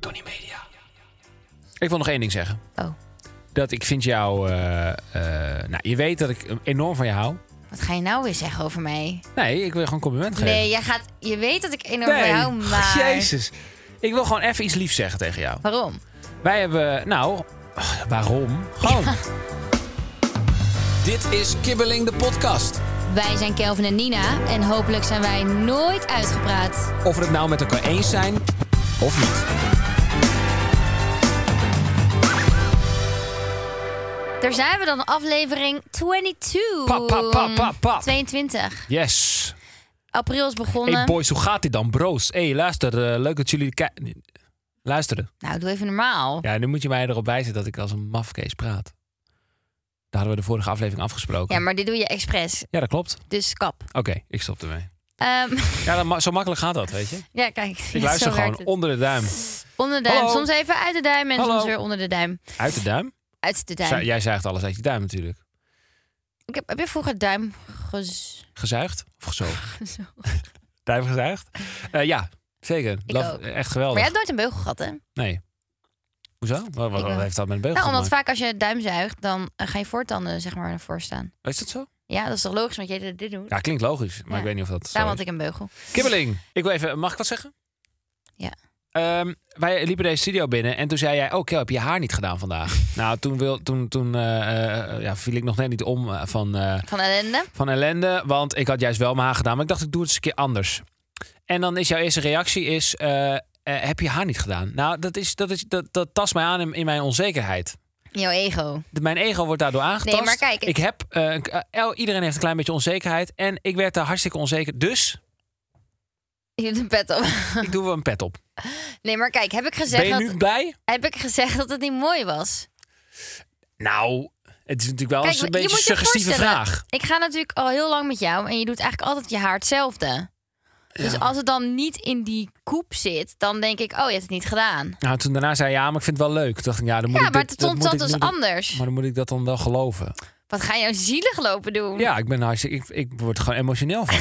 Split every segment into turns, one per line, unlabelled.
Tony Media. Ik wil nog één ding zeggen.
Oh.
Dat ik vind jou... eh, eh, nou, je weet dat ik enorm van je hou.
Wat ga je nou weer zeggen over mij?
Nee, ik wil je gewoon een compliment geven.
Nee, jij gaat. Je weet dat ik enorm van jou,
Nee.
maar.
Jezus. Ik wil gewoon even iets liefs zeggen tegen jou.
Waarom?
Wij hebben... Nou, waarom? Gewoon.
Dit is Kibbeling de podcast.
Wij zijn Kelvin en Nina en hopelijk zijn wij nooit uitgepraat.
Of we het nou met elkaar eens zijn of niet.
Daar zijn we dan, aflevering 22.
Pa, pa, pa, pa, pa.
22.
Yes.
April is begonnen.
Hey boys, hoe gaat dit dan, bro's? hey, luister. eh, leuk dat jullie... ki- Luisteren.
Nou, doe even normaal.
Ja, nu moet je mij erop wijzen dat ik als een mafkees praat. Dat hadden we de vorige aflevering afgesproken.
Ja, maar dit doe je expres.
Ja, dat klopt.
Dus kap.
Oké, ik stop ermee.
Ehm,
Ja, dan ma- zo makkelijk gaat dat, weet je.
ja, kijk.
Ik luister gewoon onder de duim.
onder de duim.
Hallo.
Soms even uit de duim en
Hallo.
soms weer onder de duim.
Uit de duim?
Uit de duim.
Zu- jij zuigt alles uit je duim natuurlijk.
Ik heb, heb je vroeger duim gez...
Gezuigd? Of gezogen?
gezo-
duim gezuigd? Eh, ja, zeker.
Ik
Love-
ook.
Echt
Maar
geweldig.
jij hebt nooit een beugel gehad, hè?
Nee. Hoezo? Wat, wat-
Ik
wat
wel.
heeft dat met een beugel
Nou,
te
omdat
maken?
vaak als je duim zuigt, dan eh, gaan je voortanden zeg maar naar voren staan.
Is dat zo?
Ja, dat is toch logisch, want jij deed dit doen.
Ja, klinkt logisch. Maar
Ja.
ik weet niet of dat zo
Daarom had
is.
ik een beugel.
Kibbeling, ik wil even... Mag ik wat zeggen?
Ja.
Ehm, wij liepen deze studio binnen en toen zei jij... Oh, Kel, heb je je haar niet gedaan vandaag? nou, toen, wil, toen, toen eh, eh, ja, viel ik nog net niet om eh, van... eh,
Van ellende.
van ellende. Want ik had juist wel mijn haar gedaan. Maar ik dacht, ik doe het eens een keer anders. En dan is jouw eerste reactie is... eh, eh, heb je haar niet gedaan? Nou, dat, is, dat, is, dat, dat tast mij aan in, in mijn onzekerheid.
Jouw ego.
De- Mijn ego wordt daardoor aangetast.
Nee, maar kijk,
Ik heb, eh, een- eh, el- iedereen heeft een klein beetje onzekerheid. En ik werd daar hartstikke onzeker. Dus
Je hebt een pet op.
ik doe wel een pet op.
Nee, maar kijk, heb ik,
ben
gezegd
je
dat,
nu blij?
heb ik gezegd dat het niet mooi was?
Nou, het is natuurlijk wel
Kijk,
eens een
je
beetje een
moet je
suggestieve
voorstellen.
vraag.
Ik ga natuurlijk al heel lang met jou en je doet eigenlijk altijd je haar hetzelfde. Dus als het dan niet in die koep zit, dan denk ik, oh, je hebt het niet gedaan.
Nou, toen daarna zei je, ja, maar ik vind het wel leuk. Toen dacht ik, ja, dan moet
ja,
ik
maar
dit-
het
dat
stond
moet
dat
ik nu
dus
doen.
anders.
Maar dan moet ik dat dan wel geloven.
Wat ga je nou zielig lopen doen?
Ja, ik ben hartstikke. Ik, ik word er gewoon emotioneel van.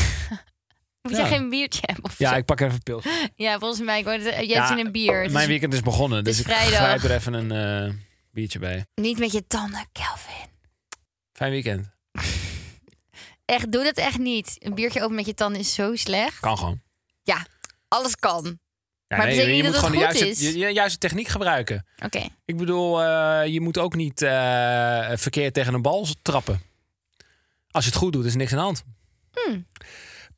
Moet
ja.
je geen biertje hebben of
Ja,
zo?
ik pak even een pil. Jij
Ja, volgens mij, ik word, jij
ja,
zin in bier. Het is
Mijn weekend is begonnen, dus
is
ik
vrijdag.
grijp er even een eh, biertje bij.
Niet met je tanden, Kelvin.
Fijn weekend.
Echt, doe dat echt niet. Een biertje open met je tanden is zo slecht.
Kan gewoon.
Alles kan.
Ja,
Maar betekent
je,
niet dat
moet gewoon
het
de
goed
juiste,
is?
je- je juiste techniek gebruiken.
Oké.
Ik bedoel, eh, je moet ook niet eh, verkeerd tegen een bal trappen. Als je het goed doet, is er niks aan de hand.
Hmm.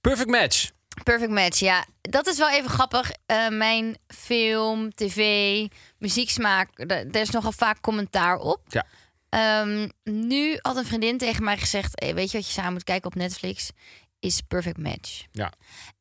Perfect match.
Perfect match, ja. Dat is wel even grappig. Eh, mijn film, tv, muzieksmaak, daar daar is nogal vaak commentaar op.
Ja.
Ehm, nu had een vriendin tegen mij gezegd... "Hey, weet je wat je samen moet kijken op Netflix? Is Perfect Match.
Ja.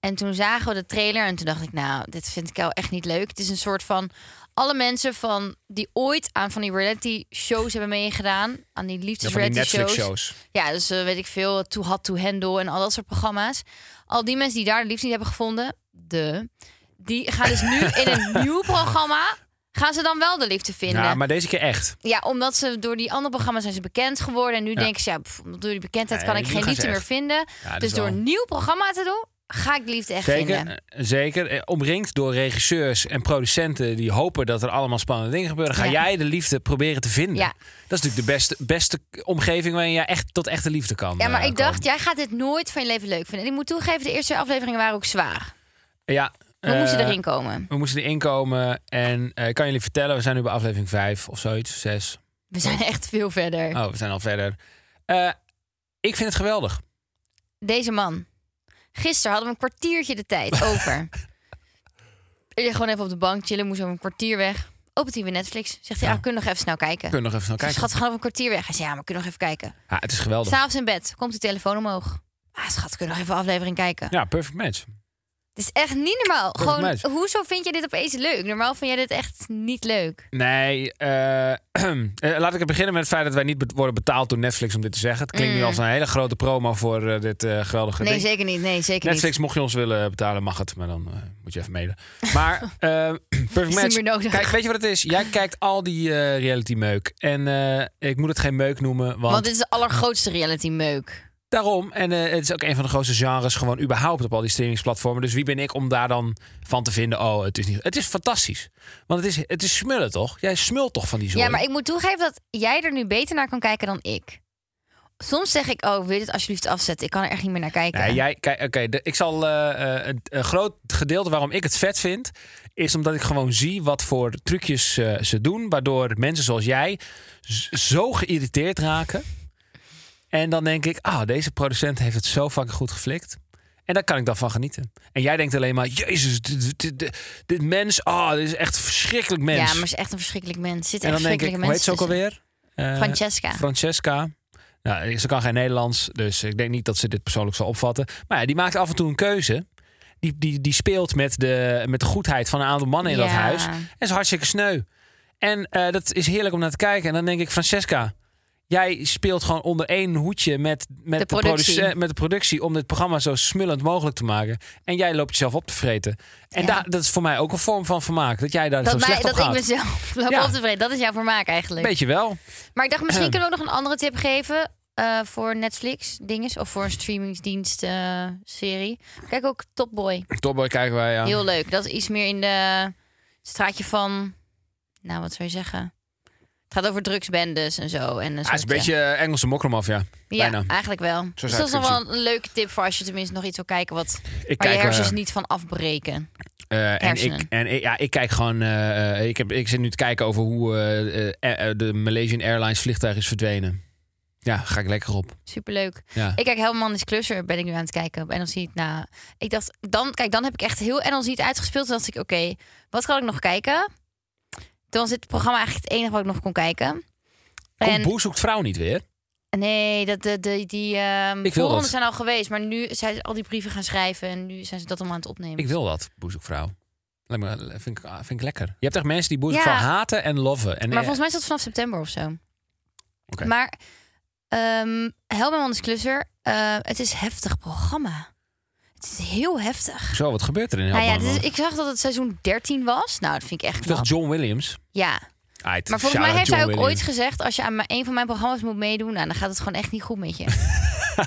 En toen zagen we de trailer en toen dacht ik... nou, dit vind ik wel echt niet leuk. Het is een soort van... alle mensen van, die ooit aan van die reality shows hebben meegedaan... aan die
Ja, van die
liefdesreality shows...
Netflix-shows.
Ja, dus eh, weet ik veel, Too Hot to Handle en al dat soort programma's. Al die mensen die daar de liefde niet hebben gevonden, de, die gaan dus nu in een nieuw programma, gaan ze dan wel de liefde vinden.
Ja, maar deze keer echt.
Ja, omdat ze door die andere programma's zijn ze bekend geworden. En nu
Ja.
denken ze, ja, pff, door die bekendheid kan
Nee,
ik
nu
geen
gaan ze
liefde meer
echt.
vinden.
Ja, dat
dus
is
door
wel-
een nieuw programma te doen, ga ik de liefde echt
Zeker,
vinden.
eh, zeker. Eh, Omringd door regisseurs en producenten die hopen dat er allemaal spannende dingen gebeuren. Ga
Ja.
jij de liefde proberen te vinden?
Ja.
Dat is natuurlijk de beste, beste omgeving waarin je echt tot echte liefde kan.
Ja, maar
eh,
ik dacht,
komen.
jij gaat dit nooit van je leven leuk vinden. En ik moet toegeven, de eerste twee afleveringen waren ook zwaar.
Ja,
We moesten
eh,
erin komen.
We moesten erin komen. En eh, ik kan jullie vertellen, we zijn nu bij aflevering 5 of zoiets, 6.
We zijn echt veel verder.
Oh, we zijn al verder. Eh, ik vind het geweldig.
deze man. Gisteren hadden we een kwartiertje de tijd over. Ik lig gewoon even op de bank chillen, moest over een kwartier weg. Opent hij weer Netflix. Zegt hij,
Ja.
ja, we kunnen nog even snel kijken.
Kunnen nog even snel
Kijk.
kijken.
Schat, we gaan over een kwartier weg. Hij zei, ja, maar we kunnen nog even kijken.
Ja, het is geweldig.
S'avonds in bed, komt de telefoon omhoog. Ah, schat, we kunnen nog even een aflevering kijken.
Ja, perfect match.
Het is echt niet normaal.
Kort
Gewoon,
meisje.
hoezo vind je dit opeens leuk? Normaal vind jij dit echt niet leuk.
Nee, eh, eh, laat ik het beginnen met het feit dat wij niet be- worden betaald door Netflix om dit te zeggen. Het klinkt nu als een hele grote promo voor eh, dit eh, geweldige
Mm. Nee,
ding.
zeker niet. Nee, zeker
Netflix,
niet.
mocht je ons willen betalen, mag het. Maar dan eh, moet je even mailen. Maar eh, Perfect
Is niet
Match.
meer nodig.
Kijk, weet je wat het is? Jij kijkt al die eh, reality meuk. En eh, ik moet het geen meuk noemen, want,
Want dit is de allergrootste reality meuk.
daarom. En eh, het is ook een van de grootste genres gewoon überhaupt op al die streamingsplatformen. Dus wie ben ik om daar dan van te vinden? Oh, het is niet. Het is fantastisch. Want het is, het is smullen toch? Jij smult toch van die zooi?
Ja, maar ik moet toegeven dat jij er nu beter naar kan kijken dan ik. Soms zeg ik, oh, wil je dit alsjeblieft afzetten? Ik kan er echt niet meer naar kijken.
Nee, jij, kijk, oké, de- ik zal eh, eh, een- een groot gedeelte waarom ik het vet vind, is omdat ik gewoon zie wat voor trucjes eh, ze doen, waardoor mensen zoals jij z- zo geïrriteerd raken. En dan denk ik, ah, deze producent heeft het zo fucking goed geflikt. En daar kan ik dan van genieten. En jij denkt alleen maar, jezus, dit, dit- dit- dit mens, ah, dit is echt een verschrikkelijk mens.
Ja, maar is echt een verschrikkelijk mens. Zit
en
echt
dan denk ik,
verschrikkelijke
hoe heet ze
mensen. dus-
ook alweer?
tussen.
Eh,
Francesca.
Francesca. Nou, ze kan geen Nederlands, dus ik denk niet dat ze dit persoonlijk zal opvatten. Maar ja, die maakt af en toe een keuze. Die, die, die speelt met de, met de goedheid van een aantal mannen in dat
Ja.
huis. En is hartstikke sneu. En eh, dat is heerlijk om naar te kijken. En dan denk ik, Francesca, jij speelt gewoon onder één hoedje met, met,
De
de,
productie.
produce- met de productie om dit programma zo smullend mogelijk te maken. En jij loopt jezelf op te vreten. En
Ja.
daar- dat is voor mij ook een vorm van vermaak. Dat jij daar zo
Dat, mij,
slecht op
dat ik
gaat.
mezelf loop
Ja.
op te vreten. Dat is jouw vermaak eigenlijk.
Beetje wel.
Maar ik dacht, misschien kunnen we ook nog een andere tip geven eh, voor Netflix dinges of voor een streamingsdienst eh, serie. Kijk ook Top Boy.
Topboy kijken wij, ja.
Heel leuk. Dat is iets meer in de straatje van, nou wat zou je zeggen? Het gaat over drugsbendes en zo. En een
Ah, het is een
soort, eh,
beetje eh, Engelse mokromaf, ja.
Ja,
bijna.
eigenlijk wel.
zou
Dus dat is
ik
nog
het
wel een leuke tip voor als je tenminste nog iets wil kijken wat,
Ik
waar je
eh,
hersens niet van afbreken.
eh, en ik,
hersenen.
en ik, ja, ik kijk gewoon. eh, eh, ik, heb, ik zit nu te kijken over hoe eh, eh, eh, de Malaysian Airlines vliegtuig is verdwenen. Ja, ga ik lekker op.
Superleuk.
Ja.
Ik kijk Helman is Klusser, ben ik nu aan het kijken op NLC. Nou, ik dacht, dan, kijk, dan heb ik echt heel NLC uitgespeeld. Toen dacht ik, oké, wat kan ik nog kijken? Toen was dit programma eigenlijk het enige wat ik nog kon kijken.
Komt Boer zoekt vrouw niet weer?
nee, dat, de, de, die ehm
wil
voorrondes
dat.
zijn al geweest. Maar nu zijn ze al die brieven gaan schrijven en nu zijn ze dat allemaal aan het opnemen.
Ik wil dat, Boer zoekt vrouw. Lijkt me- Vind ik, ah, vind ik lekker. Je hebt echt mensen die Boer
Ja.
zoekt vrouw haten en loven. En,
Maar
eh,
volgens mij is dat vanaf september of zo.
Oké.
Maar ehm Helman is Klusser, eh, het is een heftig programma. Het is heel heftig.
Zo, wat gebeurt er in
Nou ja,
Helmond?
dit is- ik zag dat het seizoen 13 was. Nou, dat vind ik echt knap.
Toch John Williams?
Ja,
Aight,
maar volgens mij
shout-out
heeft hij
John
ook ooit
Williams.
gezegd... als je aan mijn- een van mijn programma's moet meedoen... Nou, dan gaat het gewoon echt niet goed met je.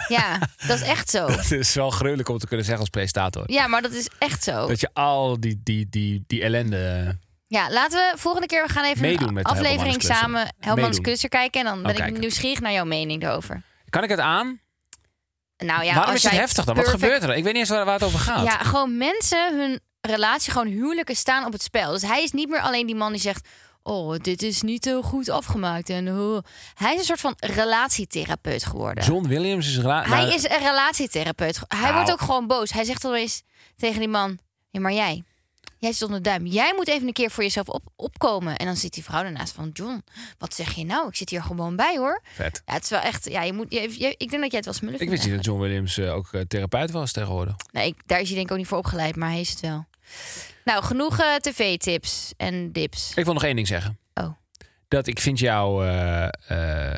ja, dat is echt zo.
Het is wel gruwelijk om te kunnen zeggen als presentator.
Ja, maar dat is echt zo.
Dat je al die, die, die, die ellende...
Ja, laten we volgende keer... we gaan even
Meedoen
een
met
aflevering
Helmans Klusser.
samen Helmans
Meedoen.
Kusser kijken... en dan ben
Oh,
ik
kijken.
nieuwsgierig naar jouw mening daarover.
Kan ik het aan?
Nou ja,
Waarom
als
is het
jij
heftig dan? Wat
perfect-
gebeurt er? nou? Ik weet niet eens waar, waar het over gaat.
Ja, gewoon mensen, hun relatie, gewoon huwelijken staan op het spel. Dus hij is niet meer alleen die man die zegt... oh, dit is niet heel goed afgemaakt. En, oh. Hij is een soort van relatietherapeut geworden.
John Williams is raar. Nou,
Hij
maar-
is een relatietherapeut. Hij
Nou.
wordt ook gewoon boos. Hij zegt alweer tegen die man... Ja, maar jij, jij zit onder de duim. Jij moet even een keer voor jezelf op, opkomen. En dan zit die vrouw daarnaast van... John, wat zeg je nou? Ik zit hier gewoon bij, hoor.
Vet.
Ja, het is wel echt... Ja, je moet, je, je- ik denk dat jij het wel smullen
Ik
vindt
wist niet dat John Williams eh, ook eh, therapeut was tegenwoordig.
Nee, ik- daar is hij denk ik ook niet voor opgeleid, maar hij is het wel. Nou, genoeg eh, tv-tips en dips.
Ik wil nog één ding zeggen.
Oh.
Dat ik vind jou... eh, eh,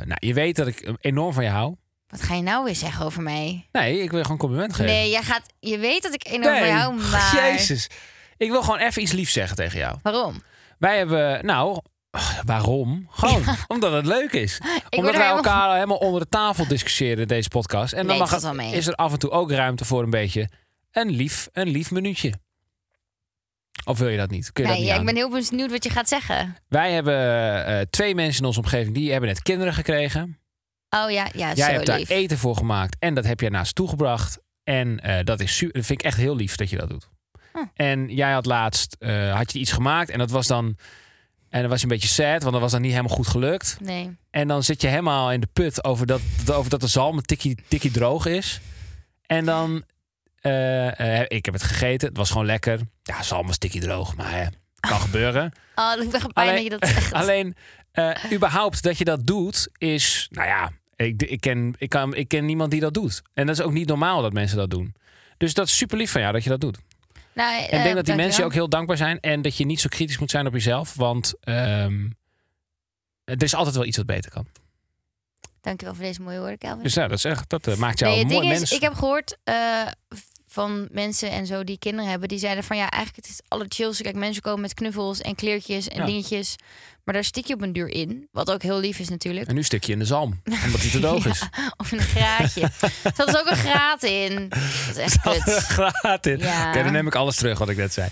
nou, je weet dat ik enorm van je hou.
Wat ga je nou weer zeggen over mij?
Nee, ik wil je gewoon een compliment geven.
Nee, jij gaat, je weet dat ik enorm van
Nee.
jou, maar...
Jezus. Ik wil gewoon even iets liefs zeggen tegen jou.
Waarom?
Wij hebben... Nou... ach, Waarom? Gewoon omdat het leuk is. Omdat
er
wij
helemaal-
elkaar helemaal onder de tafel discussiëren in deze podcast. En
Nee,
dan
het
mag
valt wel mee.
is er af en toe ook ruimte voor een beetje een lief, een lief minuutje. Of wil je dat niet? Kun je dat
Nee,
niet
ja,
aan?
ik ben heel benieuwd wat je gaat zeggen.
Wij hebben eh, twee mensen in onze omgeving die hebben net kinderen gekregen.
Oh ja, ja,
jij
zo
hebt
lief.
daar eten voor gemaakt en dat heb jij naast toegebracht. En eh, dat, is su- dat vind ik echt heel lief dat je dat doet.
Hm.
En jij had laatst eh, had je iets gemaakt en dat was dan. En dat was je een beetje sad, want dat was dan niet helemaal goed gelukt.
Nee.
En dan zit je helemaal in de put over dat, over dat de zalm een tikkie, tikkie droog is. En dan, eh, eh, ik heb het gegeten, het was gewoon lekker. Ja, zalm was tikkie droog, maar hè, kan gebeuren.
Oh, ik ben gepijn dat je dat zegt.
Alleen, eh, überhaupt dat je dat doet is, nou ja, ik, ik, ken, ik, kan, ik ken niemand die dat doet. En dat is ook niet normaal dat mensen dat doen. Dus dat is super lief van jou dat je dat doet.
Nou,
En ik denk dat die mensen je ook heel dankbaar zijn. En dat je niet zo kritisch moet zijn op jezelf. Want ehm, er is altijd wel iets wat beter kan.
Dankjewel voor deze mooie woorden, Kelvin.
Dus nou, dat, is echt, dat eh, maakt jou
nee,
een
het
mooi
ding
mens.
is, ik heb gehoord eh, van mensen en zo die kinderen hebben, die zeiden van ja, eigenlijk het is alle chills. Kijk, mensen komen met knuffels en kleertjes en
Ja.
dingetjes. Maar daar stik je op een duur in. Wat ook heel lief is natuurlijk.
En nu stik je in de zalm. Omdat die te droog is.
Of in een graatje. er zat dus ook een graat in. Dat is echt kut.
Gratis.
Ja.
Oké, dan neem ik alles terug wat ik net zei.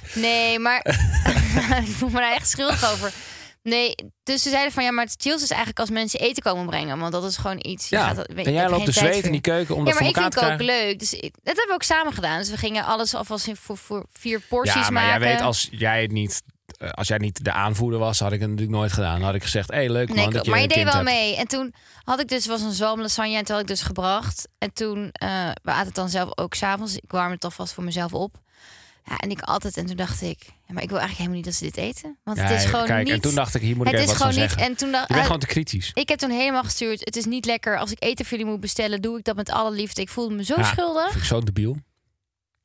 Nee, maar ik voel me daar echt schuldig over. Nee, dus ze zeiden van ja, maar het chills is eigenlijk als mensen eten komen brengen. Want dat is gewoon iets. je
Ja.
gaat dat- weet-
en
heb
jij
je
loopt te
geen tijd
zweten in
voor.
die keuken om
Ja,
dat
maar
voor
ik
elkaar
vind
te
het ook
krijgen.
leuk. Dus ik- dat hebben we ook samen gedaan. Dus we gingen alles alvast in voor, voor vier porties
Ja, maar jij
maken.
weet, als jij het niet... eh, Als jij niet de aanvoerder was, had ik het natuurlijk nooit gedaan. Dan had ik gezegd, hé, hey, leuk man,
Nee,
dat
klopt.
je
maar je
een
deed
kind
wel
hebt.
mee. En toen had ik dus was een zalm lasagne en toen had ik dus gebracht. En toen eh we aten het dan zelf ook s'avonds. Ik warm het alvast voor mezelf op. Ja, en ik altijd. En toen dacht ik, ja, maar ik wil eigenlijk helemaal niet dat ze dit eten. Want het
Ja,
is gewoon
kijk,
niet.
en toen dacht ik, hier moet ik
het
even
is
wat
gewoon
van
niet.
zeggen.
En toen dacht
Je bent
eh,
gewoon te kritisch.
ik heb toen helemaal gestuurd. Het is niet lekker. Als ik eten voor jullie moet bestellen, doe ik dat met alle liefde. Ik voelde me zo
Ja.
schuldig.
Vind ik zo debiel.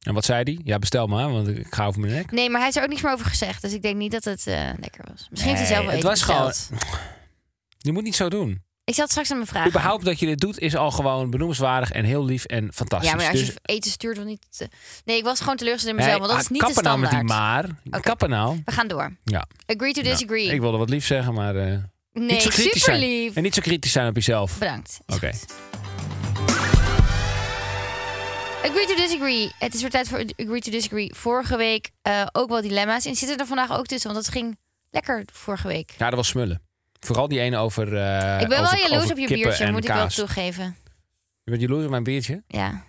En wat zei die? Ja, bestel maar, want ik ga over mijn nek.
Nee, maar hij is er ook niks meer over gezegd. Dus ik denk niet dat het eh, lekker was. Misschien heeft hij
Nee,
zelf wel
het
eten
was gewoon-
besteld.
Je moet niet zo doen.
Ik zal het straks aan mijn vragen.
Überhaupt dat je dit doet is al gewoon benoemenswaardig en heel lief en fantastisch.
Ja, maar als
Dus-
je eten stuurt, dan niet... te- Nee, ik was gewoon teleurgesteld in
Nee,
mezelf, want dat is niet de
kappen nou met
standaard.
die maar. Kappen nou.
We gaan door.
Ja.
Agree to
Nou,
disagree.
ik wilde wat lief zeggen, maar eh,
nee,
niet zo kritisch
super
zijn.
lief.
En niet zo kritisch zijn op jezelf.
Bedankt. Is
Oké.
goed. Agree to disagree. Het is weer tijd voor agree to disagree. Vorige week eh, ook wel dilemma's. En zitten er vandaag ook tussen, want dat ging lekker vorige week.
Ja, dat was smullen. Vooral die ene over eh,
ik ben
over,
wel jaloers
over
op je
kippen
biertje,
en
moet ik wel
kaas.
toegeven.
Je bent jaloers op mijn biertje?
Ja.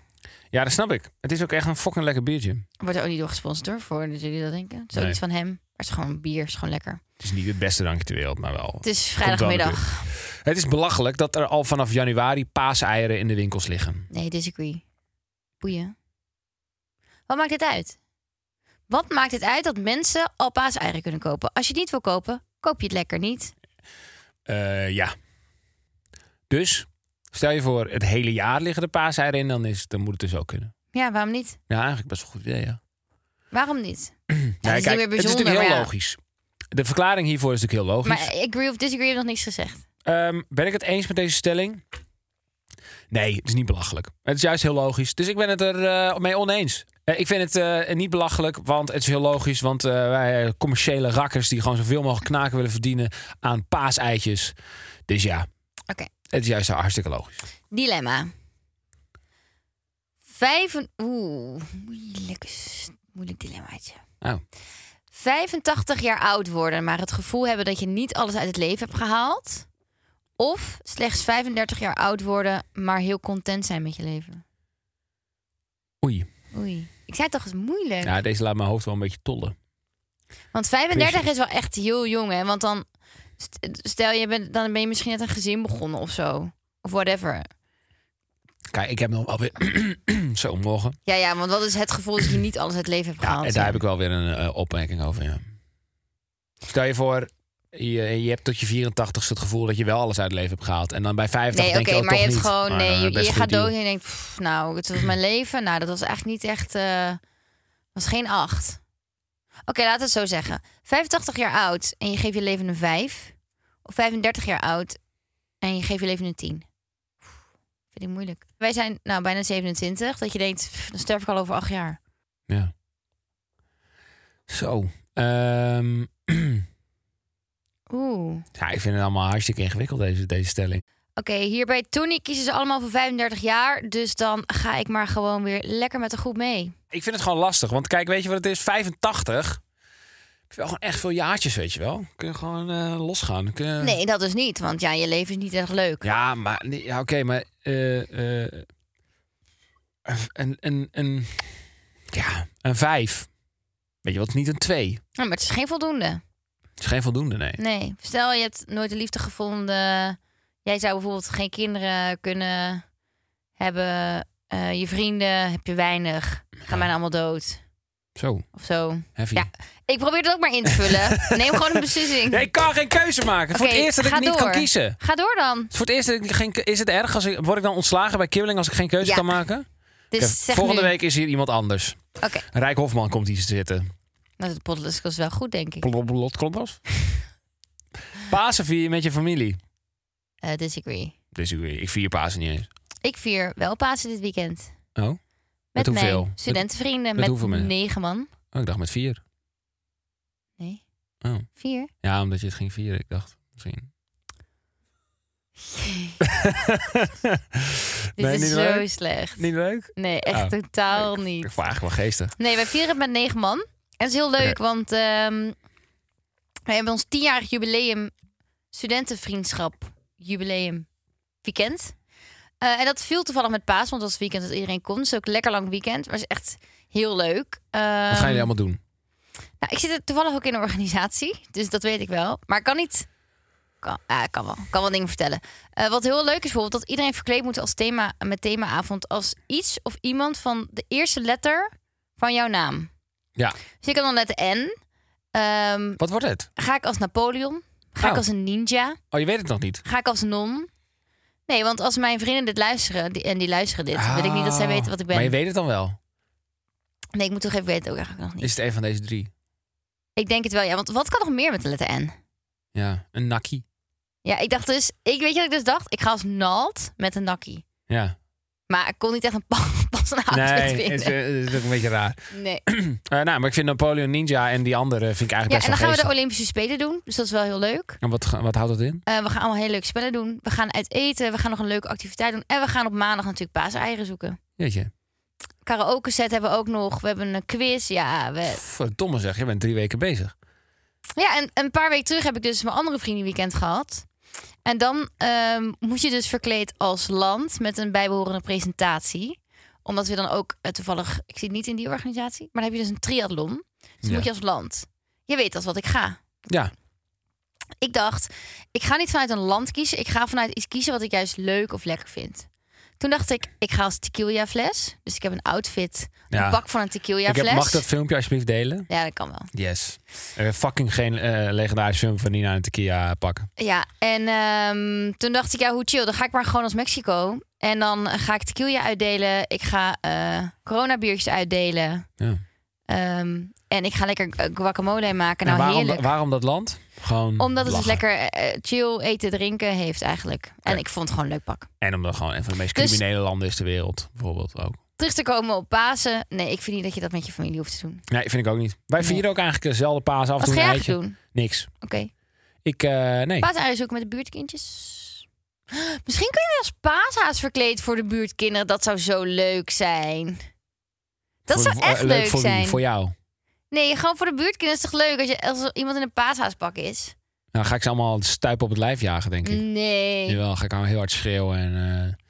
Ja, dat snap ik. Het is ook echt een fucking lekker biertje.
Wordt er ook niet door gesponsord hoor, voor dat jullie dat denken. Het is ook
Nee.
iets van hem. Maar het is gewoon bier, is gewoon lekker.
Het is niet het beste drankje ter wereld, maar wel.
Het is
wel
vrijdagmiddag.
Het is belachelijk dat er al vanaf januari paaseieren in de winkels liggen.
Nee, disagree. Boeien. Wat maakt het uit? Wat maakt het uit dat mensen al paaseieren kunnen kopen? Als je het niet wil kopen, koop je het lekker niet.
Eh, ja. Dus, stel je voor, het hele jaar liggen de paaseieren in, dan, is, het- dan moet het dus ook kunnen.
Ja, waarom niet?
Ja, eigenlijk best wel een goed idee, ja.
Waarom niet?
Ja,
dat is niet meer
het is
bijzonder,
natuurlijk heel
maar ja.
logisch. De verklaring hiervoor is natuurlijk heel logisch.
Maar eh, agree of disagree heb ik nog niks gezegd.
Ehm, ben ik het eens met deze stelling? Nee, het is niet belachelijk. Het is juist heel logisch. Dus ik ben het er eh, mee oneens. Eh, ik vind het eh, niet belachelijk, want het is heel logisch. Want eh, wij eh, commerciële rakkers die gewoon zoveel mogelijk knaken willen verdienen aan paaseitjes. Dus ja,
Oké.
het is juist hartstikke logisch.
Dilemma. Vijf... Oeh, moeilijk, moeilijk dilemmaatje.
Oh.
85 jaar oud worden, maar het gevoel hebben dat je niet alles uit het leven hebt gehaald. Of slechts 35 jaar oud worden, maar heel content zijn met je leven.
Oei.
Oei. Ik zei toch eens moeilijk.
Ja, deze laat mijn hoofd wel een beetje tollen.
Want 35 is wel echt heel jong, hè? Want dan, st- stel je bent, dan ben je misschien net een gezin begonnen of zo. Of whatever.
Kijk, ik heb nog wel weer... Zo, morgen.
Ja, ja, want wat is het gevoel dat je niet alles uit het leven hebt
Ja,
gehaald?
en daar heb ik wel weer een eh, opmerking over, ja. Stel je voor, je, je hebt tot je 84ste het gevoel dat je wel alles uit het leven hebt gehaald. En dan bij 50
Nee, oké,
denk je, oh,
maar je
toch
hebt
niet.
gewoon,
Maar,
nee,
eh,
je,
best
je
goed
gaat
deal.
dood en je denkt, pff, nou, het was mijn leven. Nou, dat was echt niet echt, eh, was geen acht. Oké, laat het zo zeggen. 85 jaar oud en je geeft je leven een 5. Of 35 jaar oud en je geeft je leven een 10. Pff, Vind ik moeilijk. Wij zijn nou bijna 27, dat je denkt, pff, dan sterf ik al over acht jaar.
Ja. Zo. ehm,
Oeh.
ja, ik vind het allemaal hartstikke ingewikkeld, deze, deze stelling.
Oké, hier bij Tony kiezen ze allemaal voor 35 jaar. Dus dan ga ik maar gewoon weer lekker met de groep mee.
Ik vind het gewoon lastig, want kijk, weet je wat het is? 85. Ik vind wel gewoon echt veel jaartjes, weet je wel. Kun je gewoon eh, losgaan. Kun je-
Nee, dat is niet, want ja, je leven is niet erg leuk.
Ja, maar nee, ja, oké, maar eh, eh, een, een, een, ja, een vijf. Weet je wat? Niet een twee.
Ja, Oh, maar het is geen voldoende.
Het is geen voldoende, nee.
Nee. Stel, je hebt nooit de liefde gevonden. Jij zou bijvoorbeeld geen kinderen kunnen hebben. Eh, je vrienden heb je weinig. Gaan bijna allemaal dood.
Zo,
Of zo.
heavy.
Ja. Ik probeer het ook maar in te vullen. Neem gewoon een beslissing.
Nee, ik kan geen keuze maken. Het is voor
Oké,
het eerst dat ik
ga
niet kan
door.
kiezen. Het
Ga door dan.
is Voor het eerst dat ik geen, ke- is het erg als ik word ik dan ontslagen bij Kibbeling als ik geen keuze
Ja.
kan maken?
Dus
Oké,
zeg
volgende
nu.
week is hier iemand anders.
Oké,
Rijk Hofman komt hier zitten.
nou, dat podcast was wel goed, denk ik.
Plot, klopt dat? Pasen vier je met je familie.
Eh, disagree.
Dus ik- ik vier Pasen niet eens.
Ik vier wel Pasen dit weekend.
Oh? Met
Met,
hoeveel?
mijn
Met-
studentenvrienden.
met
Met,
hoeveel mensen?
negen man.
Oh, ik dacht met vier.
Nee.
Oh.
Vier.
Ja, omdat je het ging vieren. Ik dacht misschien.
Dit is zo slecht.
Niet leuk?
Nee, echt
Oh.
totaal
Ik-
niet.
Ik vraag wel geestig.
Nee, wij vieren het met negen man. En het is heel leuk, want ehm wij hebben ons tienjarig jubileum studentenvriendschap jubileum weekend. Eh, en dat viel toevallig met paas, want dat was het weekend dat iedereen kon. Dus ook lekker lang weekend, maar het is echt heel leuk.
Wat gaan
Ehm,
jullie allemaal doen?
nou, ik zit er toevallig ook in een organisatie, dus dat weet ik wel. Maar ik kan niet. Kan, ah, ik kan wel. Ik kan wel dingen vertellen. Eh, wat heel leuk is bijvoorbeeld dat iedereen verkleed moet als thema met themaavond als iets of iemand van de eerste letter van jouw naam.
Ja.
Dus ik kan dan letter N. Ehm,
Wat wordt het?
ga ik als Napoleon? Ga
Oh.
ik als een ninja?
Oh, je weet het nog niet.
Ga ik als non? Nee, want als mijn vrienden dit luisteren die, en die luisteren dit, wil ik niet dat zij
Ah.
weten wat ik ben.
Maar je weet het dan wel.
Nee, ik moet toch even weten ook eigenlijk nog niet.
Is het een van deze drie?
Ik denk het wel, ja. Want wat kan nog meer met de letter N?
Ja, een nakkie.
Ja, ik dacht dus, ik weet je wat ik dus dacht? Ik ga als naald met een nakkie.
Ja.
Ah, Maar ik kon niet echt een pa- passende outfit
Nee,
vinden.
is, eh, is ook een beetje raar.
nee.
Eh, nou, maar ik vind Napoleon Ninja en die andere vind ik eigenlijk
Ja, en
best wel
dan gaan we de
geestig.
Olympische Spelen doen. Dus dat is wel heel leuk.
En wat, wat houdt dat in?
Eh, we gaan allemaal hele leuke spellen doen. We gaan uit eten. We gaan nog een leuke activiteit doen. En we gaan op maandag natuurlijk paaseieren zoeken.
Weet je,
Karaoke set hebben we ook nog. We hebben een quiz. Ja, we...
verdomme zeg, je bent drie weken bezig.
ja en een paar weken terug heb ik dus mijn andere vriendenweekend gehad. En dan ehm, moet je dus verkleed als land met een bijbehorende presentatie. Omdat we dan ook eh, toevallig, ik zit niet in die organisatie, maar dan heb je dus een triathlon. Dus dan
Ja.
moet je als land. Je weet als wat ik ga.
Ja,
Ik dacht, ik ga niet vanuit een land kiezen. Ik ga vanuit iets kiezen wat ik juist leuk of lekker vind. Toen dacht ik, ik ga als tequila fles. Dus ik heb een outfit, een
Ja.
pak van een tequila
ik heb,
fles.
mag dat filmpje alsjeblieft delen?
Ja, dat kan wel.
Yes. Eh, fucking geen eh, legendarisch film van Nina en Tequila pakken.
Ja, en ehm, toen dacht ik, ja, hoe chill. Dan ga ik maar gewoon als Mexico. En dan ga ik tequila uitdelen. Ik ga eh coronabiertjes uitdelen.
Ja.
Ehm, en ik ga lekker eh, guacamole maken. Nou,
en waarom,
heerlijk.
waarom dat land? Gewoon
Omdat het dus
lachen.
lekker eh, chill eten, drinken heeft eigenlijk. En
Oké.
ik vond het gewoon een leuk pak.
En omdat het gewoon een van de meest
Dus-
criminele landen is ter wereld, bijvoorbeeld ook.
terug te komen op Pasen. Nee, ik vind niet dat je dat met je familie hoeft te doen.
Nee, vind ik ook niet. Wij
Nee.
vieren ook eigenlijk dezelfde paas af en
Wat
toe
ga
een
jij
eitje.
eigenlijk doen?
Niks.
Oké.
Ik, eh, nee.
Paaseieren zoeken met de buurtkindjes. Misschien kun je als paashaas verkleed voor de buurtkinderen. Dat zou zo leuk zijn. Dat
Voor-
zou
voor- eh,
echt
leuk
leuk
voor wie?
zijn.
Voor jou.
Nee, gewoon voor de buurtkinderen is toch leuk als, je, als er iemand in een paashaaspak is?
Nou, ga ik ze allemaal stuipen op het lijf jagen, denk ik.
Nee.
Jawel, ga ik allemaal heel hard schreeuwen. En, eh,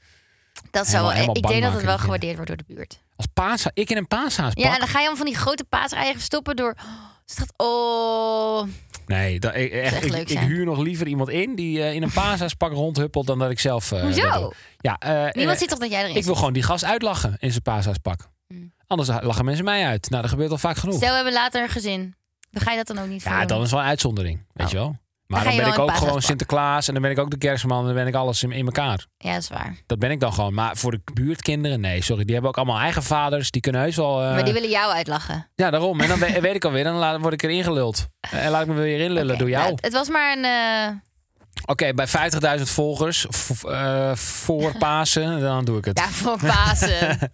dat zou
helemaal-
wel, ik
helemaal
denk
bang
dat
maken,
het wel
die
gewaardeerd wordt door de buurt.
als paasha ik in een paashaas
Ja, en dan ga je hem van die grote paaseieren stoppen door... Dus dat,
Eh,
oh,
Nee, dat, ik, echt,
echt
ik,
leuk
ik
zijn.
huur nog liever iemand in die eh, in een paashaaspak rondhuppelt dan dat ik zelf... eh,
hoezo?
dat doe. Ja, eh,
Niemand
eh,
ziet toch dat jij erin
ik wil gewoon die gast uitlachen in zijn paashaaspak.
Mm.
Anders lachen mensen mij uit. Nou, dat gebeurt al vaak genoeg.
Stel, we hebben later een gezin. Dan ga je dat dan ook niet voor
ja,
doen?
dan is wel een uitzondering, weet
Oh.
je wel. Maar
ga
dan
je
ben
wel
ik
een
ook gewoon
paashaaspak.
Sinterklaas en dan ben ik ook de kerstman en dan ben ik alles in, in elkaar.
Ja, dat is waar.
Dat ben ik dan gewoon. Maar voor de buurtkinderen, nee, sorry. Die hebben ook allemaal eigen vaders. Die kunnen heus wel... eh,
Maar die willen jou uitlachen.
Ja, daarom. En dan we- weet ik alweer, dan laat- word ik erin geluld. En laat ik me weer inlullen
Oké,
door jou.
nou, het- het was maar een... eh,
Oké, bij 50.000 volgers v- eh, voor Pasen, dan doe ik het.
ja, voor Pasen.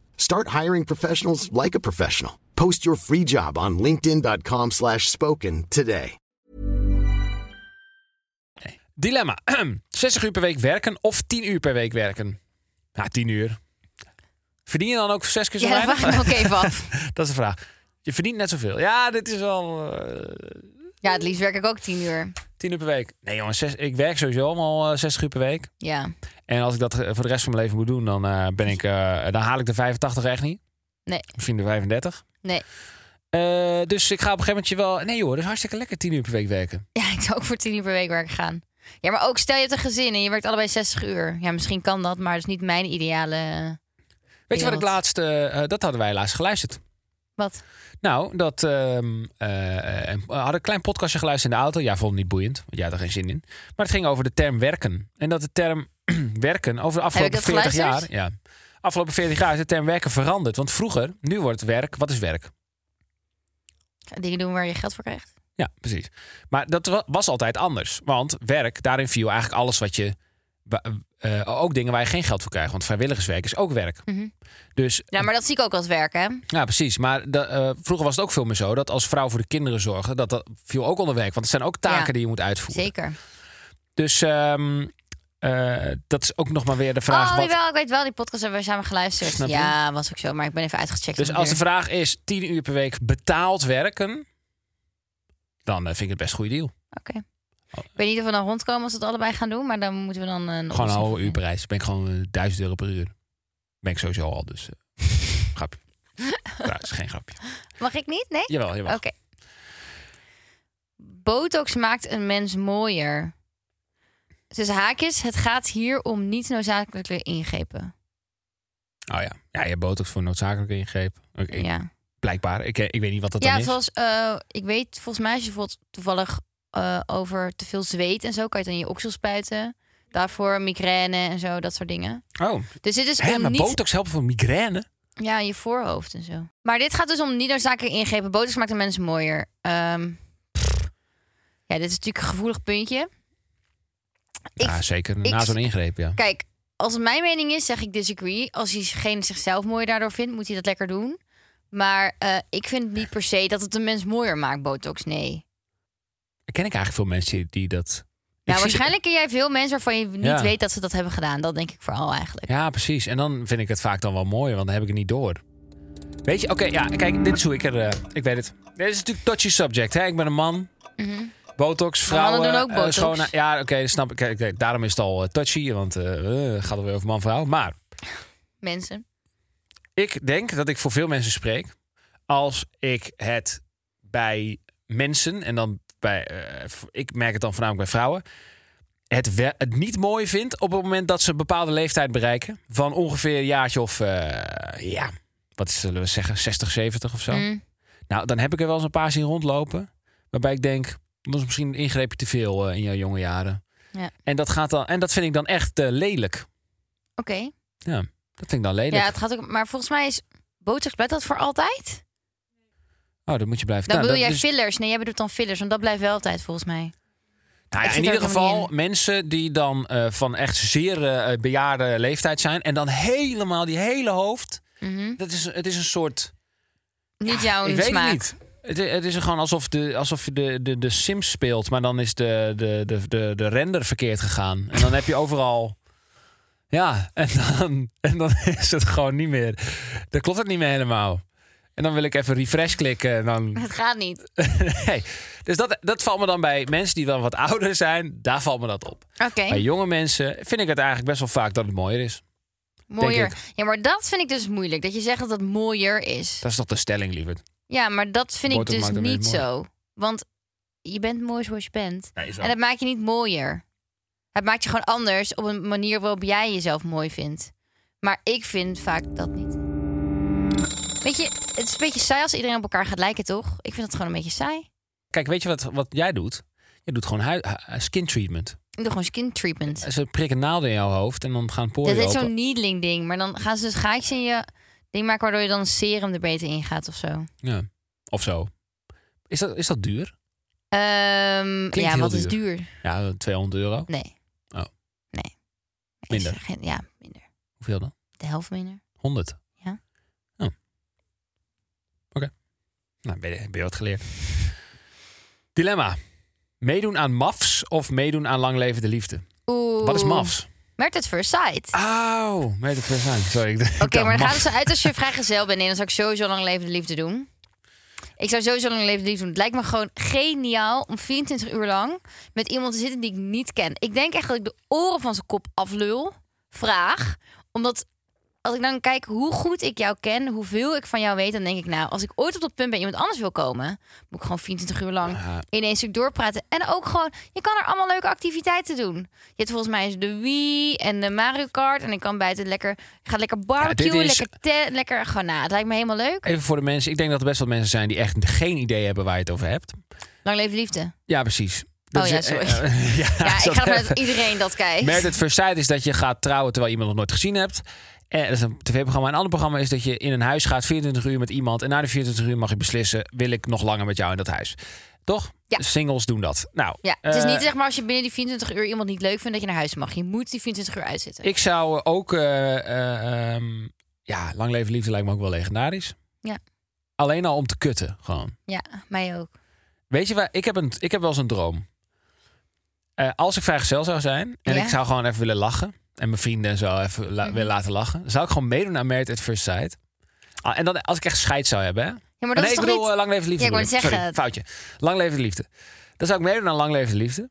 Start hiring professionals like a professional. Post your free job on linkedin.com/spoken slash spoken today.
Dilemma. 60 uur per week werken of 10 uur per week werken? Nou, 10 uur. Verdien je dan ook zes keer zo
Ja, dat
weinig?
vraag ik me ook even af.
Dat is de vraag. Je verdient net zoveel. Ja, dit is wel eh,
Ja, het liefst werk ik ook tien uur.
10 uur per week. Nee jongens, zes- ik werk sowieso allemaal eh, 60 uur per week.
Ja.
En als ik dat eh, voor de rest van mijn leven moet doen, dan, eh, ben ik, eh, dan haal ik de 85 echt niet.
Nee.
Misschien de 35.
Nee.
Eh, dus ik ga op een gegeven moment je wel... Nee hoor, dat is hartstikke lekker tien uur per week werken.
Ja, ik zou ook voor tien uur per week werken gaan. Ja, maar ook stel je hebt een gezin en je werkt allebei 60 uur. Ja, misschien kan dat, maar dat is niet mijn ideale... eh,
Weet je wat ik
Wereld.
laatst... eh, eh, dat hadden wij laatst geluisterd.
Wat?
Nou, dat ehm eh, en we hadden een klein podcastje geluisterd in de auto. Ja, vond hem niet boeiend, want jij had er geen zin in. Maar het ging over de term werken. En dat de term werken over de afgelopen
dat
40 jaar...
geluisterd?
Ja, afgelopen 40 jaar is de term werken veranderd. Want vroeger, nu wordt werk... Wat is werk?
Dingen doen waar je geld voor krijgt?
Ja, precies. Maar dat wa- was altijd anders. Want werk, daarin viel eigenlijk alles wat je... wa- eh, ook dingen waar je geen geld voor krijgt. Want vrijwilligerswerk is ook werk.
Mhm.
Dus
Ja, maar dat zie ik ook als werk, hè?
ja, precies. Maar de, eh, vroeger was het ook veel meer zo dat als vrouw voor de kinderen zorgde, dat, dat viel ook onder werk. Want het zijn ook taken
Ja,
die je moet uitvoeren.
Zeker.
Dus ehm, eh, dat is ook nog maar weer de vraag.
oh,
wat-
jawel, ik weet wel, die podcast hebben we samen geluisterd.
Snap je?
ja, was ook zo, maar ik ben even uitgecheckt.
dus
om
als de
weer-
vraag is 10 uur per week betaald werken, dan eh, vind ik het best een goede deal.
Oké. Ik weet niet of we dan rondkomen als we het allebei gaan doen, maar dan moeten we dan... eh, Een
Gewoon een
oplossing
halve
vinden.
uurprijs. Ben ik gewoon eh, 1000 euro per uur. Ben ik sowieso al, dus eh, grapje. Ja, is geen grapje.
Mag ik niet? Nee?
Jawel, jawel.
Oké. Botox maakt een mens mooier. Tussen haakjes, het gaat hier om niet noodzakelijke ingrepen.
Oh ja. Ja, je hebt botox voor noodzakelijke ingreep. Oké,
Ja,
Blijkbaar. Ik, eh, ik weet niet wat dat dan
ja
is.
zoals, eh, ik weet, volgens mij als je bijvoorbeeld toevallig eh, over te veel zweet en zo, kan je het aan je oksel spuiten. Daarvoor migraine en zo, dat soort dingen.
Oh,
Dus dit is
Hè,
om
maar
niet...
botox helpt voor migraine?
Ja, je voorhoofd en zo. Maar dit gaat dus om niet noodzakelijk ingrepen. Botox maakt de mens mooier. Ehm, pff. ja, dit is natuurlijk een gevoelig puntje. Ik,
ja, zeker. Na
ik-
zo'n ingreep, ja.
Kijk, als het mijn mening is, zeg ik disagree. Als diegene zichzelf mooier daardoor vindt, moet hij dat lekker doen. Maar eh, ik vind niet per se dat het een mens mooier maakt, botox. Nee.
Ken ik eigenlijk veel mensen die- die dat... Ik
Ja,
zie-
Nou, waarschijnlijk ken jij veel mensen waarvan je niet
Ja.
weet dat ze dat hebben gedaan. Dat denk ik vooral eigenlijk.
Ja, precies. En dan vind ik het vaak dan wel mooier, want dan heb ik het niet door. Weet je, oké, ja, kijk, dit is hoe ik er... eh, ik weet het. Dit is natuurlijk touchy subject, hè. Ik ben een man. Botox,
Maar Mhm. mannen
vrouwen...
doen ook
eh,
botox.
schone- ja, oké, dat snap ik. Kijk, kijk, daarom is het al eh, touchy, want eh eh, het gaat alweer over man-vrouw. Maar
Mensen.
ik denk dat ik voor veel mensen spreek. Als ik het bij mensen, en dan bij, eh, v- ik merk het dan voornamelijk bij vrouwen, het, we- het niet mooi vind op het moment dat ze een bepaalde leeftijd bereiken. Van ongeveer een jaartje of, eh, ja, wat zullen we zeggen, 60, 70 of zo.
Mm.
Nou, dan heb ik er wel eens een paar zien rondlopen. Waarbij ik denk, dat is misschien een ingreepje te veel eh, in jouw jonge jaren.
Ja.
En, dat gaat dan, en dat vind ik dan echt eh, lelijk.
Oké.
Ja, dat vind ik dan lelijk.
Ja, het gaat ook. Maar volgens mij is botox blijft dat voor altijd.
Oh, dat moet je blijven
Dan
Nou,
bedoel
dat-
jij
dus-
fillers. Nee, jij bedoelt dan fillers, want dat blijft wel altijd volgens mij.
Nou ja,
Ik
in
zit
ieder
daar ook helemaal
geval
niet in.
mensen die dan eh, van echt zeer eh, bejaarde leeftijd zijn. En dan helemaal die hele hoofd. dat is, het is een soort...
Niet jouw
ik weet
Mhm. smaak.
het niet. Het, i- het is gewoon alsof, de, alsof je de, de, de Sims speelt. Maar dan is de, de, de, de, de render verkeerd gegaan. En dan heb je overal... Ja, en dan, en dan is het gewoon niet meer... Dan klopt het niet meer helemaal. En dan wil ik even refresh klikken. En dan
Het gaat niet.
Nee. Dus dat, dat valt me dan bij mensen die dan wat ouder zijn, daar valt me dat op.
Oké,
Bij jonge mensen vind ik het eigenlijk best wel vaak dat het mooier is.
mooier.
denk
Ja, maar dat vind ik dus moeilijk. Dat je zegt dat het mooier is.
Dat is toch de stelling, lieverd?
Ja, maar dat vind
Botox
ik dus
maakt een
niet
mens mooi.
zo. Want je bent mooi zoals je bent.
Ja, is wel.
en dat maakt je niet mooier. Het maakt je gewoon anders op een manier waarop jij jezelf mooi vindt. Maar ik vind vaak dat niet. Weet je, het is een beetje saai als iedereen op elkaar gaat lijken, toch? Ik vind het gewoon een beetje saai.
Kijk, weet je wat, wat jij doet? Je doet gewoon hui- hu- skin treatment.
Ik doe gewoon skin treatment.
Ze prikken naalden in jouw hoofd en dan gaan
Dat
poren
is
open.
zo'n needling ding. Maar dan gaan ze dus gaatjes in je ding maken... waardoor je dan een serum er beter in gaat of zo.
Ja. Of zo. Is dat, is dat duur?
Ehm,
Klinkt
ja,
heel
wat is duur?
Ja, 200 euro.
Nee.
Oh.
Nee. Ik
Minder.
zeg geen- ja, minder.
Hoeveel dan?
De helft minder.
100.
Ja.
Oh. Oké. Nou, ben je, ben je wat geleerd. Dilemma. Meedoen aan MAFs of meedoen aan langlevende liefde?
Oeh.
Wat is MAFs?
Mert at first sight.
Ah, Auw, meet het first time. Sorry.
Oké, maar dan gaat het zo uit als je vrijgezel bent. Nee, dan zou ik sowieso lang leven de liefde doen. Ik zou sowieso lang leven de liefde doen. Het lijkt me gewoon geniaal om 24 uur lang met iemand te zitten die ik niet ken. Ik denk echt dat ik de oren van zijn kop aflul. Vraag. Omdat als ik dan kijk hoe goed ik jou ken, hoeveel ik van jou weet, dan denk ik nou, als ik ooit op dat punt bij iemand anders wil komen, moet ik gewoon 24 uur lang in één stuk doorpraten. En ook gewoon, je kan er allemaal leuke activiteiten doen. Je hebt volgens mij de Wii en de Mario Kart en ik kan buiten lekker, gaat lekker barbecue,
is-
lekker tent, lekker, gewoon nou, het lijkt me helemaal leuk.
Even voor de mensen. Ik denk dat er best wel mensen zijn die echt geen idee hebben waar je het over hebt.
Lang leven liefde.
Ja, precies.
Oh ja,
is-
sorry.
eh, eh, ja,
Ja, ik
dat-
ga ervan uit dat iedereen dat kijkt.
Merit het First Sight is dat je gaat trouwen terwijl je iemand nog nooit gezien hebt. En dat is een tv-programma. Een ander programma is dat je in een huis gaat 24 uur met iemand. En na de 24 uur mag je beslissen, wil ik nog langer met jou in dat huis? Toch?
Ja.
Singles doen dat. Nou,
Ja, het is
eh,
niet zeg maar als je binnen die 24 uur iemand niet leuk vindt dat je naar huis mag. Je moet die 24 uur uitzitten.
Ik zou eh, ook... eh, eh, ehm, ja, Lang Leven Liefde lijkt me ook wel legendarisch.
Ja.
Alleen al om te kutten, gewoon.
Ja, mij ook.
Weet je waar, ik heb, een, ik heb wel eens een droom. Eh, als ik vrijgezel zou zijn en
Ja. Mhm.
ik zou gewoon even willen lachen. En mijn vrienden en zo even la- willen laten lachen. Zou ik gewoon meedoen aan Merit at First Sight. Ah, en dan als ik echt scheid zou hebben. Hè?
Ja, maar dat
nee,
is
ik
toch
bedoel
niet...
eh, Lang Leven Liefde.
Ja, ik wou
bedoel
zeggen.
Sorry, foutje. Lang Leven de Liefde. Dan zou ik meedoen aan Lang Leven de Liefde.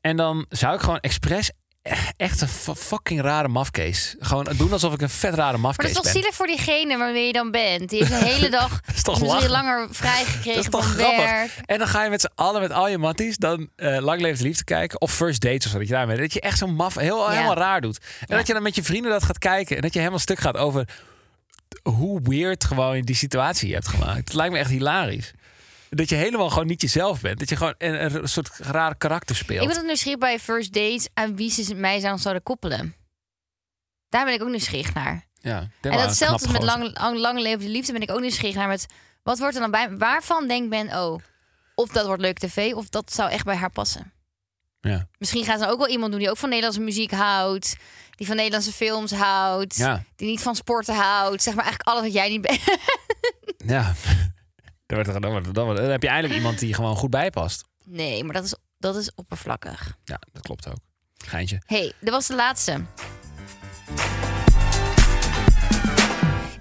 En dan zou ik gewoon expres eh, echt een fu- fucking rare mafkees. Gewoon doen alsof ik een vet rare
Maar
mafkees
dat
ben.
is toch zielig voor diegene waarmee je dan bent. Die heeft de hele dag
is toch lachen?
misschien langer
Dat is
vrijgekregen
toch
van
grappig?
werk.
En dan ga je met z'n allen, met al je matties, dan eh Lang Leef de Liefde kijken. Of First Dates of zo, dat je daarmee... Dat je echt zo maf, heel, helemaal raar doet. En dat je dan met je vrienden dat gaat kijken. En dat je helemaal stuk gaat over hoe weird gewoon je die situatie je hebt gemaakt. Het lijkt me echt hilarisch. Dat je helemaal gewoon niet jezelf bent. Dat je gewoon een, een soort raar karakter speelt.
Ik ben ook nieuwsgierig bij first dates aan wie ze mij zouden- zouden koppelen. Daar ben ik ook nieuwsgierig naar.
ja, ik denk wel
en
een
datzelfde
knappe
met
gozer.
lang, lang, lang leven de liefde ben ik ook nieuwsgierig naar. Met, wat wordt er dan bij? Waarvan denkt men, oh, of dat wordt leuk tv, of dat zou echt bij haar passen.
Ja.
Misschien gaat ze dan ook wel iemand doen die ook van Nederlandse muziek houdt. Die van Nederlandse films houdt.
Ja.
Die niet van sporten houdt. Zeg maar eigenlijk alles wat jij niet bent.
Ja. Dan, wordt er- dan, wordt- dan wordt- dan heb je eindelijk iemand die gewoon goed bijpast.
Nee, maar dat is, dat is oppervlakkig.
Ja, dat klopt ook. Geintje.
Hé, hey, dat was de laatste.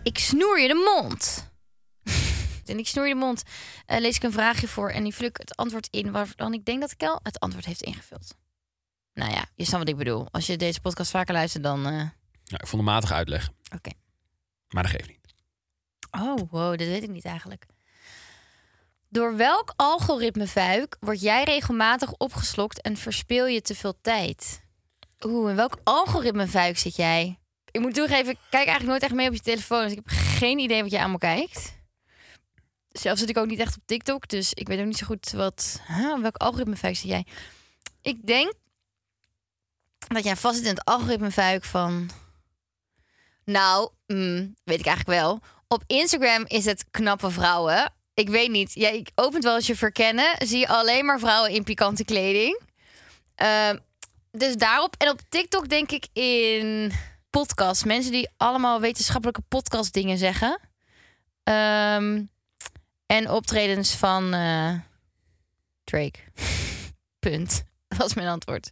Ik snoer je de mond. en ik snoer je de mond. eh, lees ik een vraagje voor en die vluk het antwoord in waarvan ik denk dat Kel het antwoord heeft ingevuld. Nou ja, je snapt wat ik bedoel. Als je deze podcast vaker luistert, dan. eh,
Nou, ik vond een matige uitleg.
Oké.
Maar dat geeft niet.
Oh, wow, dat weet ik niet eigenlijk. Door welk algoritme vuik word jij regelmatig opgeslokt en verspeel je te veel tijd? Oeh, in welk algoritme vuik zit jij? Ik moet toegeven, ik kijk eigenlijk nooit echt mee op je telefoon, dus ik heb geen idee wat je allemaal kijkt. Zelf zit ik ook niet echt op TikTok, dus ik weet ook niet zo goed wat. Huh, welk algoritme vuik zit jij? Ik denk dat jij vast zit in het algoritme vuik van nou, mm, weet ik eigenlijk wel. Op Instagram is het knappe vrouwen. Ik weet niet. Jij opent wel eens je verkennen. Zie je alleen maar vrouwen in pikante kleding. Ehm, dus daarop. En op TikTok denk ik in podcasts. Mensen die allemaal wetenschappelijke podcastdingen zeggen. Ehm, en optredens van eh, Drake. Punt. Dat was mijn antwoord.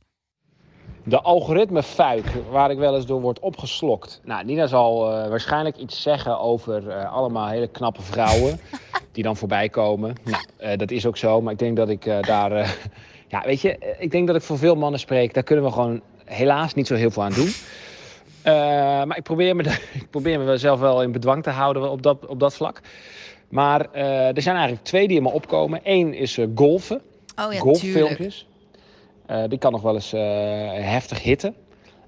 De algoritmefuik waar ik wel eens door word opgeslokt. Nou, Nina zal eh, waarschijnlijk iets zeggen over eh, allemaal hele knappe vrouwen die dan voorbij komen. Nou, eh, dat is ook zo, maar ik denk dat ik eh, daar... eh, ja, weet je, eh, ik denk dat ik voor veel mannen spreek. Daar kunnen we gewoon helaas niet zo heel veel aan doen. Eh, maar ik probeer, me, daar- ik probeer me zelf wel in bedwang te houden op dat, op dat vlak. Maar eh, er zijn eigenlijk twee die in me opkomen. Eén is eh, golfen
Oh ja, tuurlijk.
golffilmpjes. Eh, die kan nog wel eens eh, heftig hitten.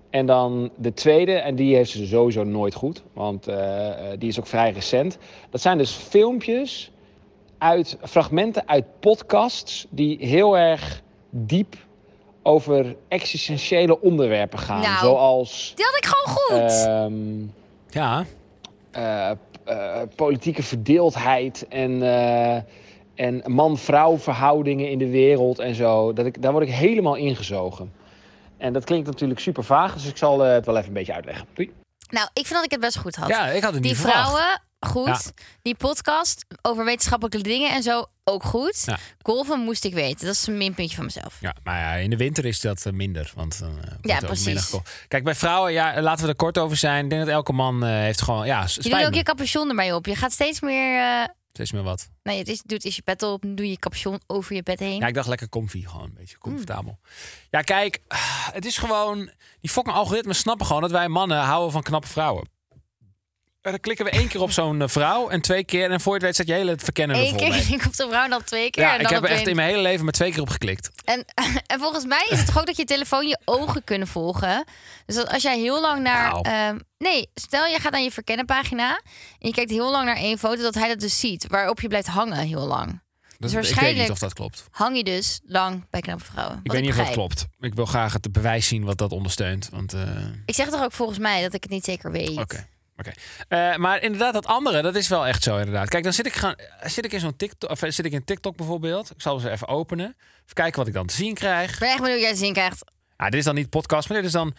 En dan de tweede, en die heeft ze sowieso nooit goed, want eh, eh, die is ook vrij recent. Dat zijn dus filmpjes uit fragmenten uit podcasts die heel erg diep over existentiële onderwerpen gaan.
Nou,
zoals
Die had ik gewoon goed.
Eh,
ehm,
Ja,
eh, eh, politieke verdeeldheid en, eh, en man-vrouw verhoudingen in de wereld en zo. Dat ik, daar word ik helemaal ingezogen. En dat klinkt natuurlijk super vaag, dus ik zal eh, het wel even een beetje uitleggen. Doei.
Nou, ik vind dat ik het best goed had.
ja ik had het
Die
niet verwacht.
vrouwen, goed. Die podcast over wetenschappelijke dingen en zo, ook goed.
Ja.
Golven moest ik weten. Dat is een minpuntje van mezelf.
Ja, maar ja, in de winter is dat eh, minder. Want dan eh, wordt er ook
precies.
minder gekocht. Kijk, bij vrouwen, ja, laten we er kort over zijn. Ik denk dat elke man eh, heeft gewoon, ja, s-
Je doet
spijt
ook
me.
je capuchon ermee op. Je gaat steeds meer... eh,
Steeds meer wat.
nee, het is, doet is je pet op, doe je capuchon over je bed heen.
Ja, ik dacht lekker comfy, gewoon een
Mm.
beetje comfortabel. Ja, kijk, ah, het is gewoon, die fucking algoritmes snappen gewoon dat wij mannen houden van knappe vrouwen. En dan klikken we één keer op zo'n eh, vrouw en twee keer. En voor je het weet zat je hele het verkennen
Eén
ervoor
keer
mee.
ging ik op de vrouw en dan twee keer.
Ja,
en
ik
dan
heb
op
er echt
één.
in mijn hele leven maar twee keer op geklikt.
En, en volgens mij is het toch ook dat je telefoon je ogen kunnen volgen. Dus dat als jij heel lang naar.
Nou.
ehm, nee, stel je gaat naar je verkennenpagina. En je kijkt heel lang naar één foto, dat hij dat dus ziet. Waarop je blijft hangen heel lang.
Dat,
Dus
Ik weet
waarschijnlijk-
niet of dat klopt.
Hang je dus lang bij knappe vrouwen.
Ik
Wat
weet niet of dat
begrijp.
klopt. Ik wil graag het bewijs zien wat dat ondersteunt. Want, eh,
Ik zeg toch ook volgens mij dat ik het niet zeker weet.
oké. oké. Eh, maar inderdaad, dat andere, dat is wel echt zo inderdaad. Kijk, dan zit ik, gaan, zit ik in zo'n TikTok, of eh, zit ik in TikTok bijvoorbeeld. Ik zal ze even openen. Even kijken wat ik dan te zien krijg.
Ik ben echt benieuwd wat jij te zien krijgt.
Ja, dit is dan niet podcast, maar dit is dan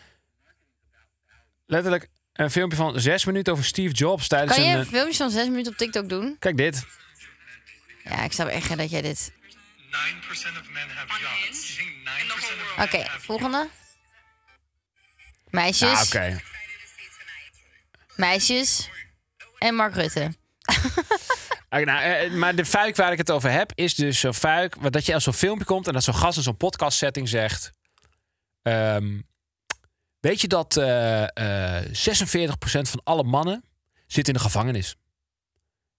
letterlijk een filmpje van zes minuten over Steve Jobs tijdens
Kan je
een.
een
eh,
filmpje van zes minuten op TikTok doen?
kijk dit.
Ja, ik snap echt hè, dat jij dit...
9% of men have jobs. You think 9% of
Oké, volgende. Meisjes,
Ah, oké.
meisjes en Mark Rutte.
Nou, Ah, nou, eh, maar de fuik waar ik het over heb, is dus zo'n fuik. wat- Dat je als zo'n filmpje komt en dat zo'n gast in zo'n podcast setting zegt. ehm, weet je dat eh, eh, 46% van alle mannen zit in de gevangenis?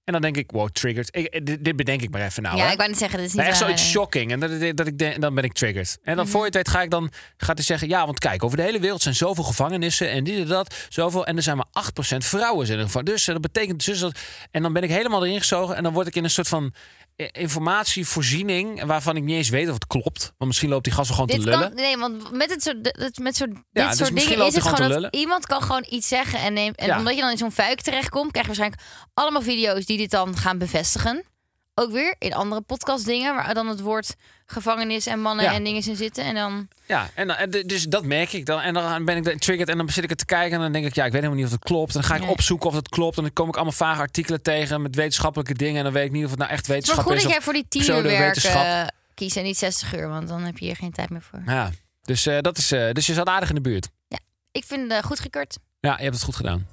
En dan denk ik, wow, triggered. Ik- eh, dit, dit bedenk ik maar even nou.
ja,
hè.
ik wou niet zeggen, dit is niet
Maar echt
waar,
zoiets
nee.
shocking. En dat, dat- dat ik denk, dan ben ik triggered. En
Mhm.
dan voor je het weet ga ik dan gaat hij zeggen... ja, want kijk, over de hele wereld zijn zoveel gevangenissen... en dit en dat, zoveel. En er zijn maar 8% vrouwen in de gevangenis. Dus eh, dat betekent dus dat... En dan ben ik helemaal erin gezogen... en dan word ik in een soort van eh, informatievoorziening... waarvan ik niet eens weet of het klopt. Want misschien loopt die gast wel gewoon
eh, Dit
te lullen.
kan, nee, want met, het soort, dat- met soort,
Ja,
dit
dus
soort
misschien
dingen
loopt
is
hij
het
gewoon
gewoon
te
dat iemand kan gewoon iets zeggen en neemt. En
Ja.
omdat je dan in zo'n vuik terechtkomt, krijg je waarschijnlijk allemaal video's die dit dan gaan bevestigen. Ook weer in andere podcastdingen, waar dan het woord gevangenis en mannen
Ja.
en dingen in zitten. En dan
Ja, en, dan- en d- dus dat merk ik dan. En dan ben ik dan triggered en dan zit ik het te kijken. En dan denk ik, ja, ik weet helemaal niet of dat klopt. En dan ga ik
Nee.
opzoeken of dat klopt. En dan kom ik allemaal vage artikelen tegen met wetenschappelijke dingen. En dan weet ik niet of het nou echt
het is maar
wetenschap
goed
is.
dat
of
jij voor die tiener
pseudowetenschap.
werken kiest en niet 60 uur, want dan heb je hier geen tijd meer voor.
Ja, dus, eh, dat is, eh, dus je zat aardig in de buurt.
Ik vind eh, het goedgekeurd.
Ja, je hebt het goed gedaan.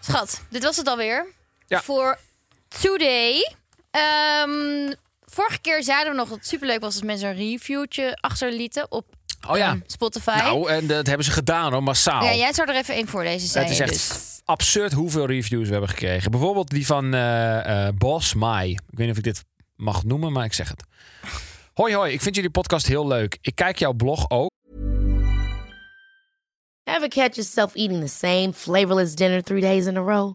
Schat, dit was het alweer.
Ja.
Voor today. Ehm, vorige keer zeiden we nog dat het superleuk was als mensen een reviewtje achterlieten op
Oh ja.
ehm, Spotify.
Nou, en dat hebben ze gedaan hoor, massaal.
ja, jij zou er even één voorlezen, zei
het is
je
echt
dus.
f- absurd hoeveel reviews we hebben gekregen. Bijvoorbeeld die van eh eh Bos Mai. Ik weet niet of ik dit mag noemen, maar ik zeg het. Hoi hoi, ik vind jullie podcast heel leuk. Ik kijk jouw blog ook.
Ever catch yourself eating the same flavorless dinner three days in a row?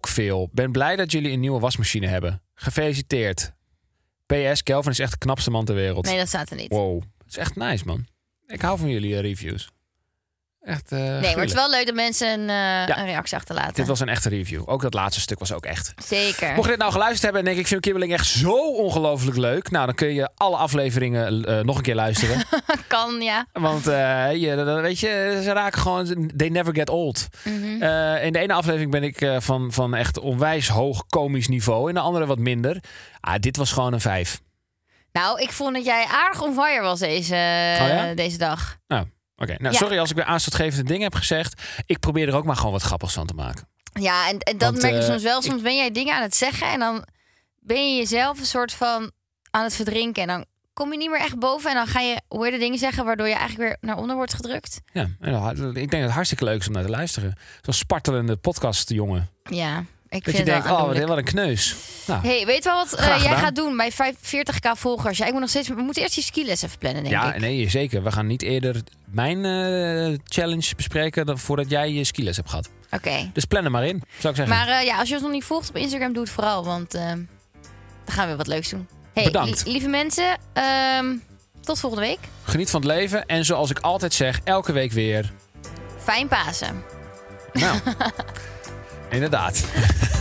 veel. Ben blij dat jullie een nieuwe wasmachine hebben. Gefeliciteerd. PS, Kelvin is echt de knapste man ter wereld.
Nee, dat staat er niet.
Wow, het is echt nice man. Ik hou van jullie eh, reviews. Echt. eh,
nee, maar het
gruwelijk.
is wel leuk dat mensen een, eh, een reactie achterlaten.
Dit was een echte review. Ook dat laatste stuk was ook echt.
Zeker.
Mocht je dit nou geluisterd hebben en denk ik vind kibbeling echt zo ongelooflijk leuk. Nou, dan kun je alle afleveringen eh, nog een keer luisteren.
Kan, ja.
Want eh, je, dat- dat- weet je, ze raken gewoon... They never get old. Eh, in de ene aflevering ben ik eh, van, van echt onwijs hoog komisch niveau. In de andere wat minder. Ah, dit was gewoon een vijf.
Nou, ik vond dat jij aardig on fire was deze,
Oh ja?
deze dag.
Nou, oké. Nou,
Ja.
sorry als ik weer aanstootgevende dingen heb gezegd. Ik probeer er ook maar gewoon wat grappigs van te maken.
Ja, en, en dat
Want,
merk je
eh,
soms wel. Soms ben jij dingen aan het zeggen en dan ben je jezelf een soort van aan het verdrinken. En dan kom je niet meer echt boven en dan ga je weirde dingen zeggen... waardoor je eigenlijk weer naar onder wordt gedrukt.
Ja, en dan- ik denk dat het hartstikke leuk is om naar te luisteren. Zo'n spartelende podcastjongen.
Ja, ik
Dat
vind
je
het wel
denkt, oh, wat,
aandoenlijk.
wat een kneus. Nou,
Hey, weet wel wat eh,
Graag
jij
gedaan.
gaat doen bij 45k volgers? Ja, ik moet nog steeds. We moeten eerst die skiles even plannen, denk
ja,
ik.
nee, zeker. We gaan niet eerder mijn eh, challenge bespreken dan voordat jij je skiles hebt gehad.
Oké.
Dus plan er maar in, zou ik zeggen.
Maar eh, ja, als je ons nog niet volgt op Instagram, doe het vooral. Want eh, dan gaan we wat leuks doen. Hey,
Bedankt.
li- lieve mensen, ehm, tot volgende week.
Geniet van het leven. En zoals ik altijd zeg, elke week weer.
Fijn Pasen.
Nou, inderdaad.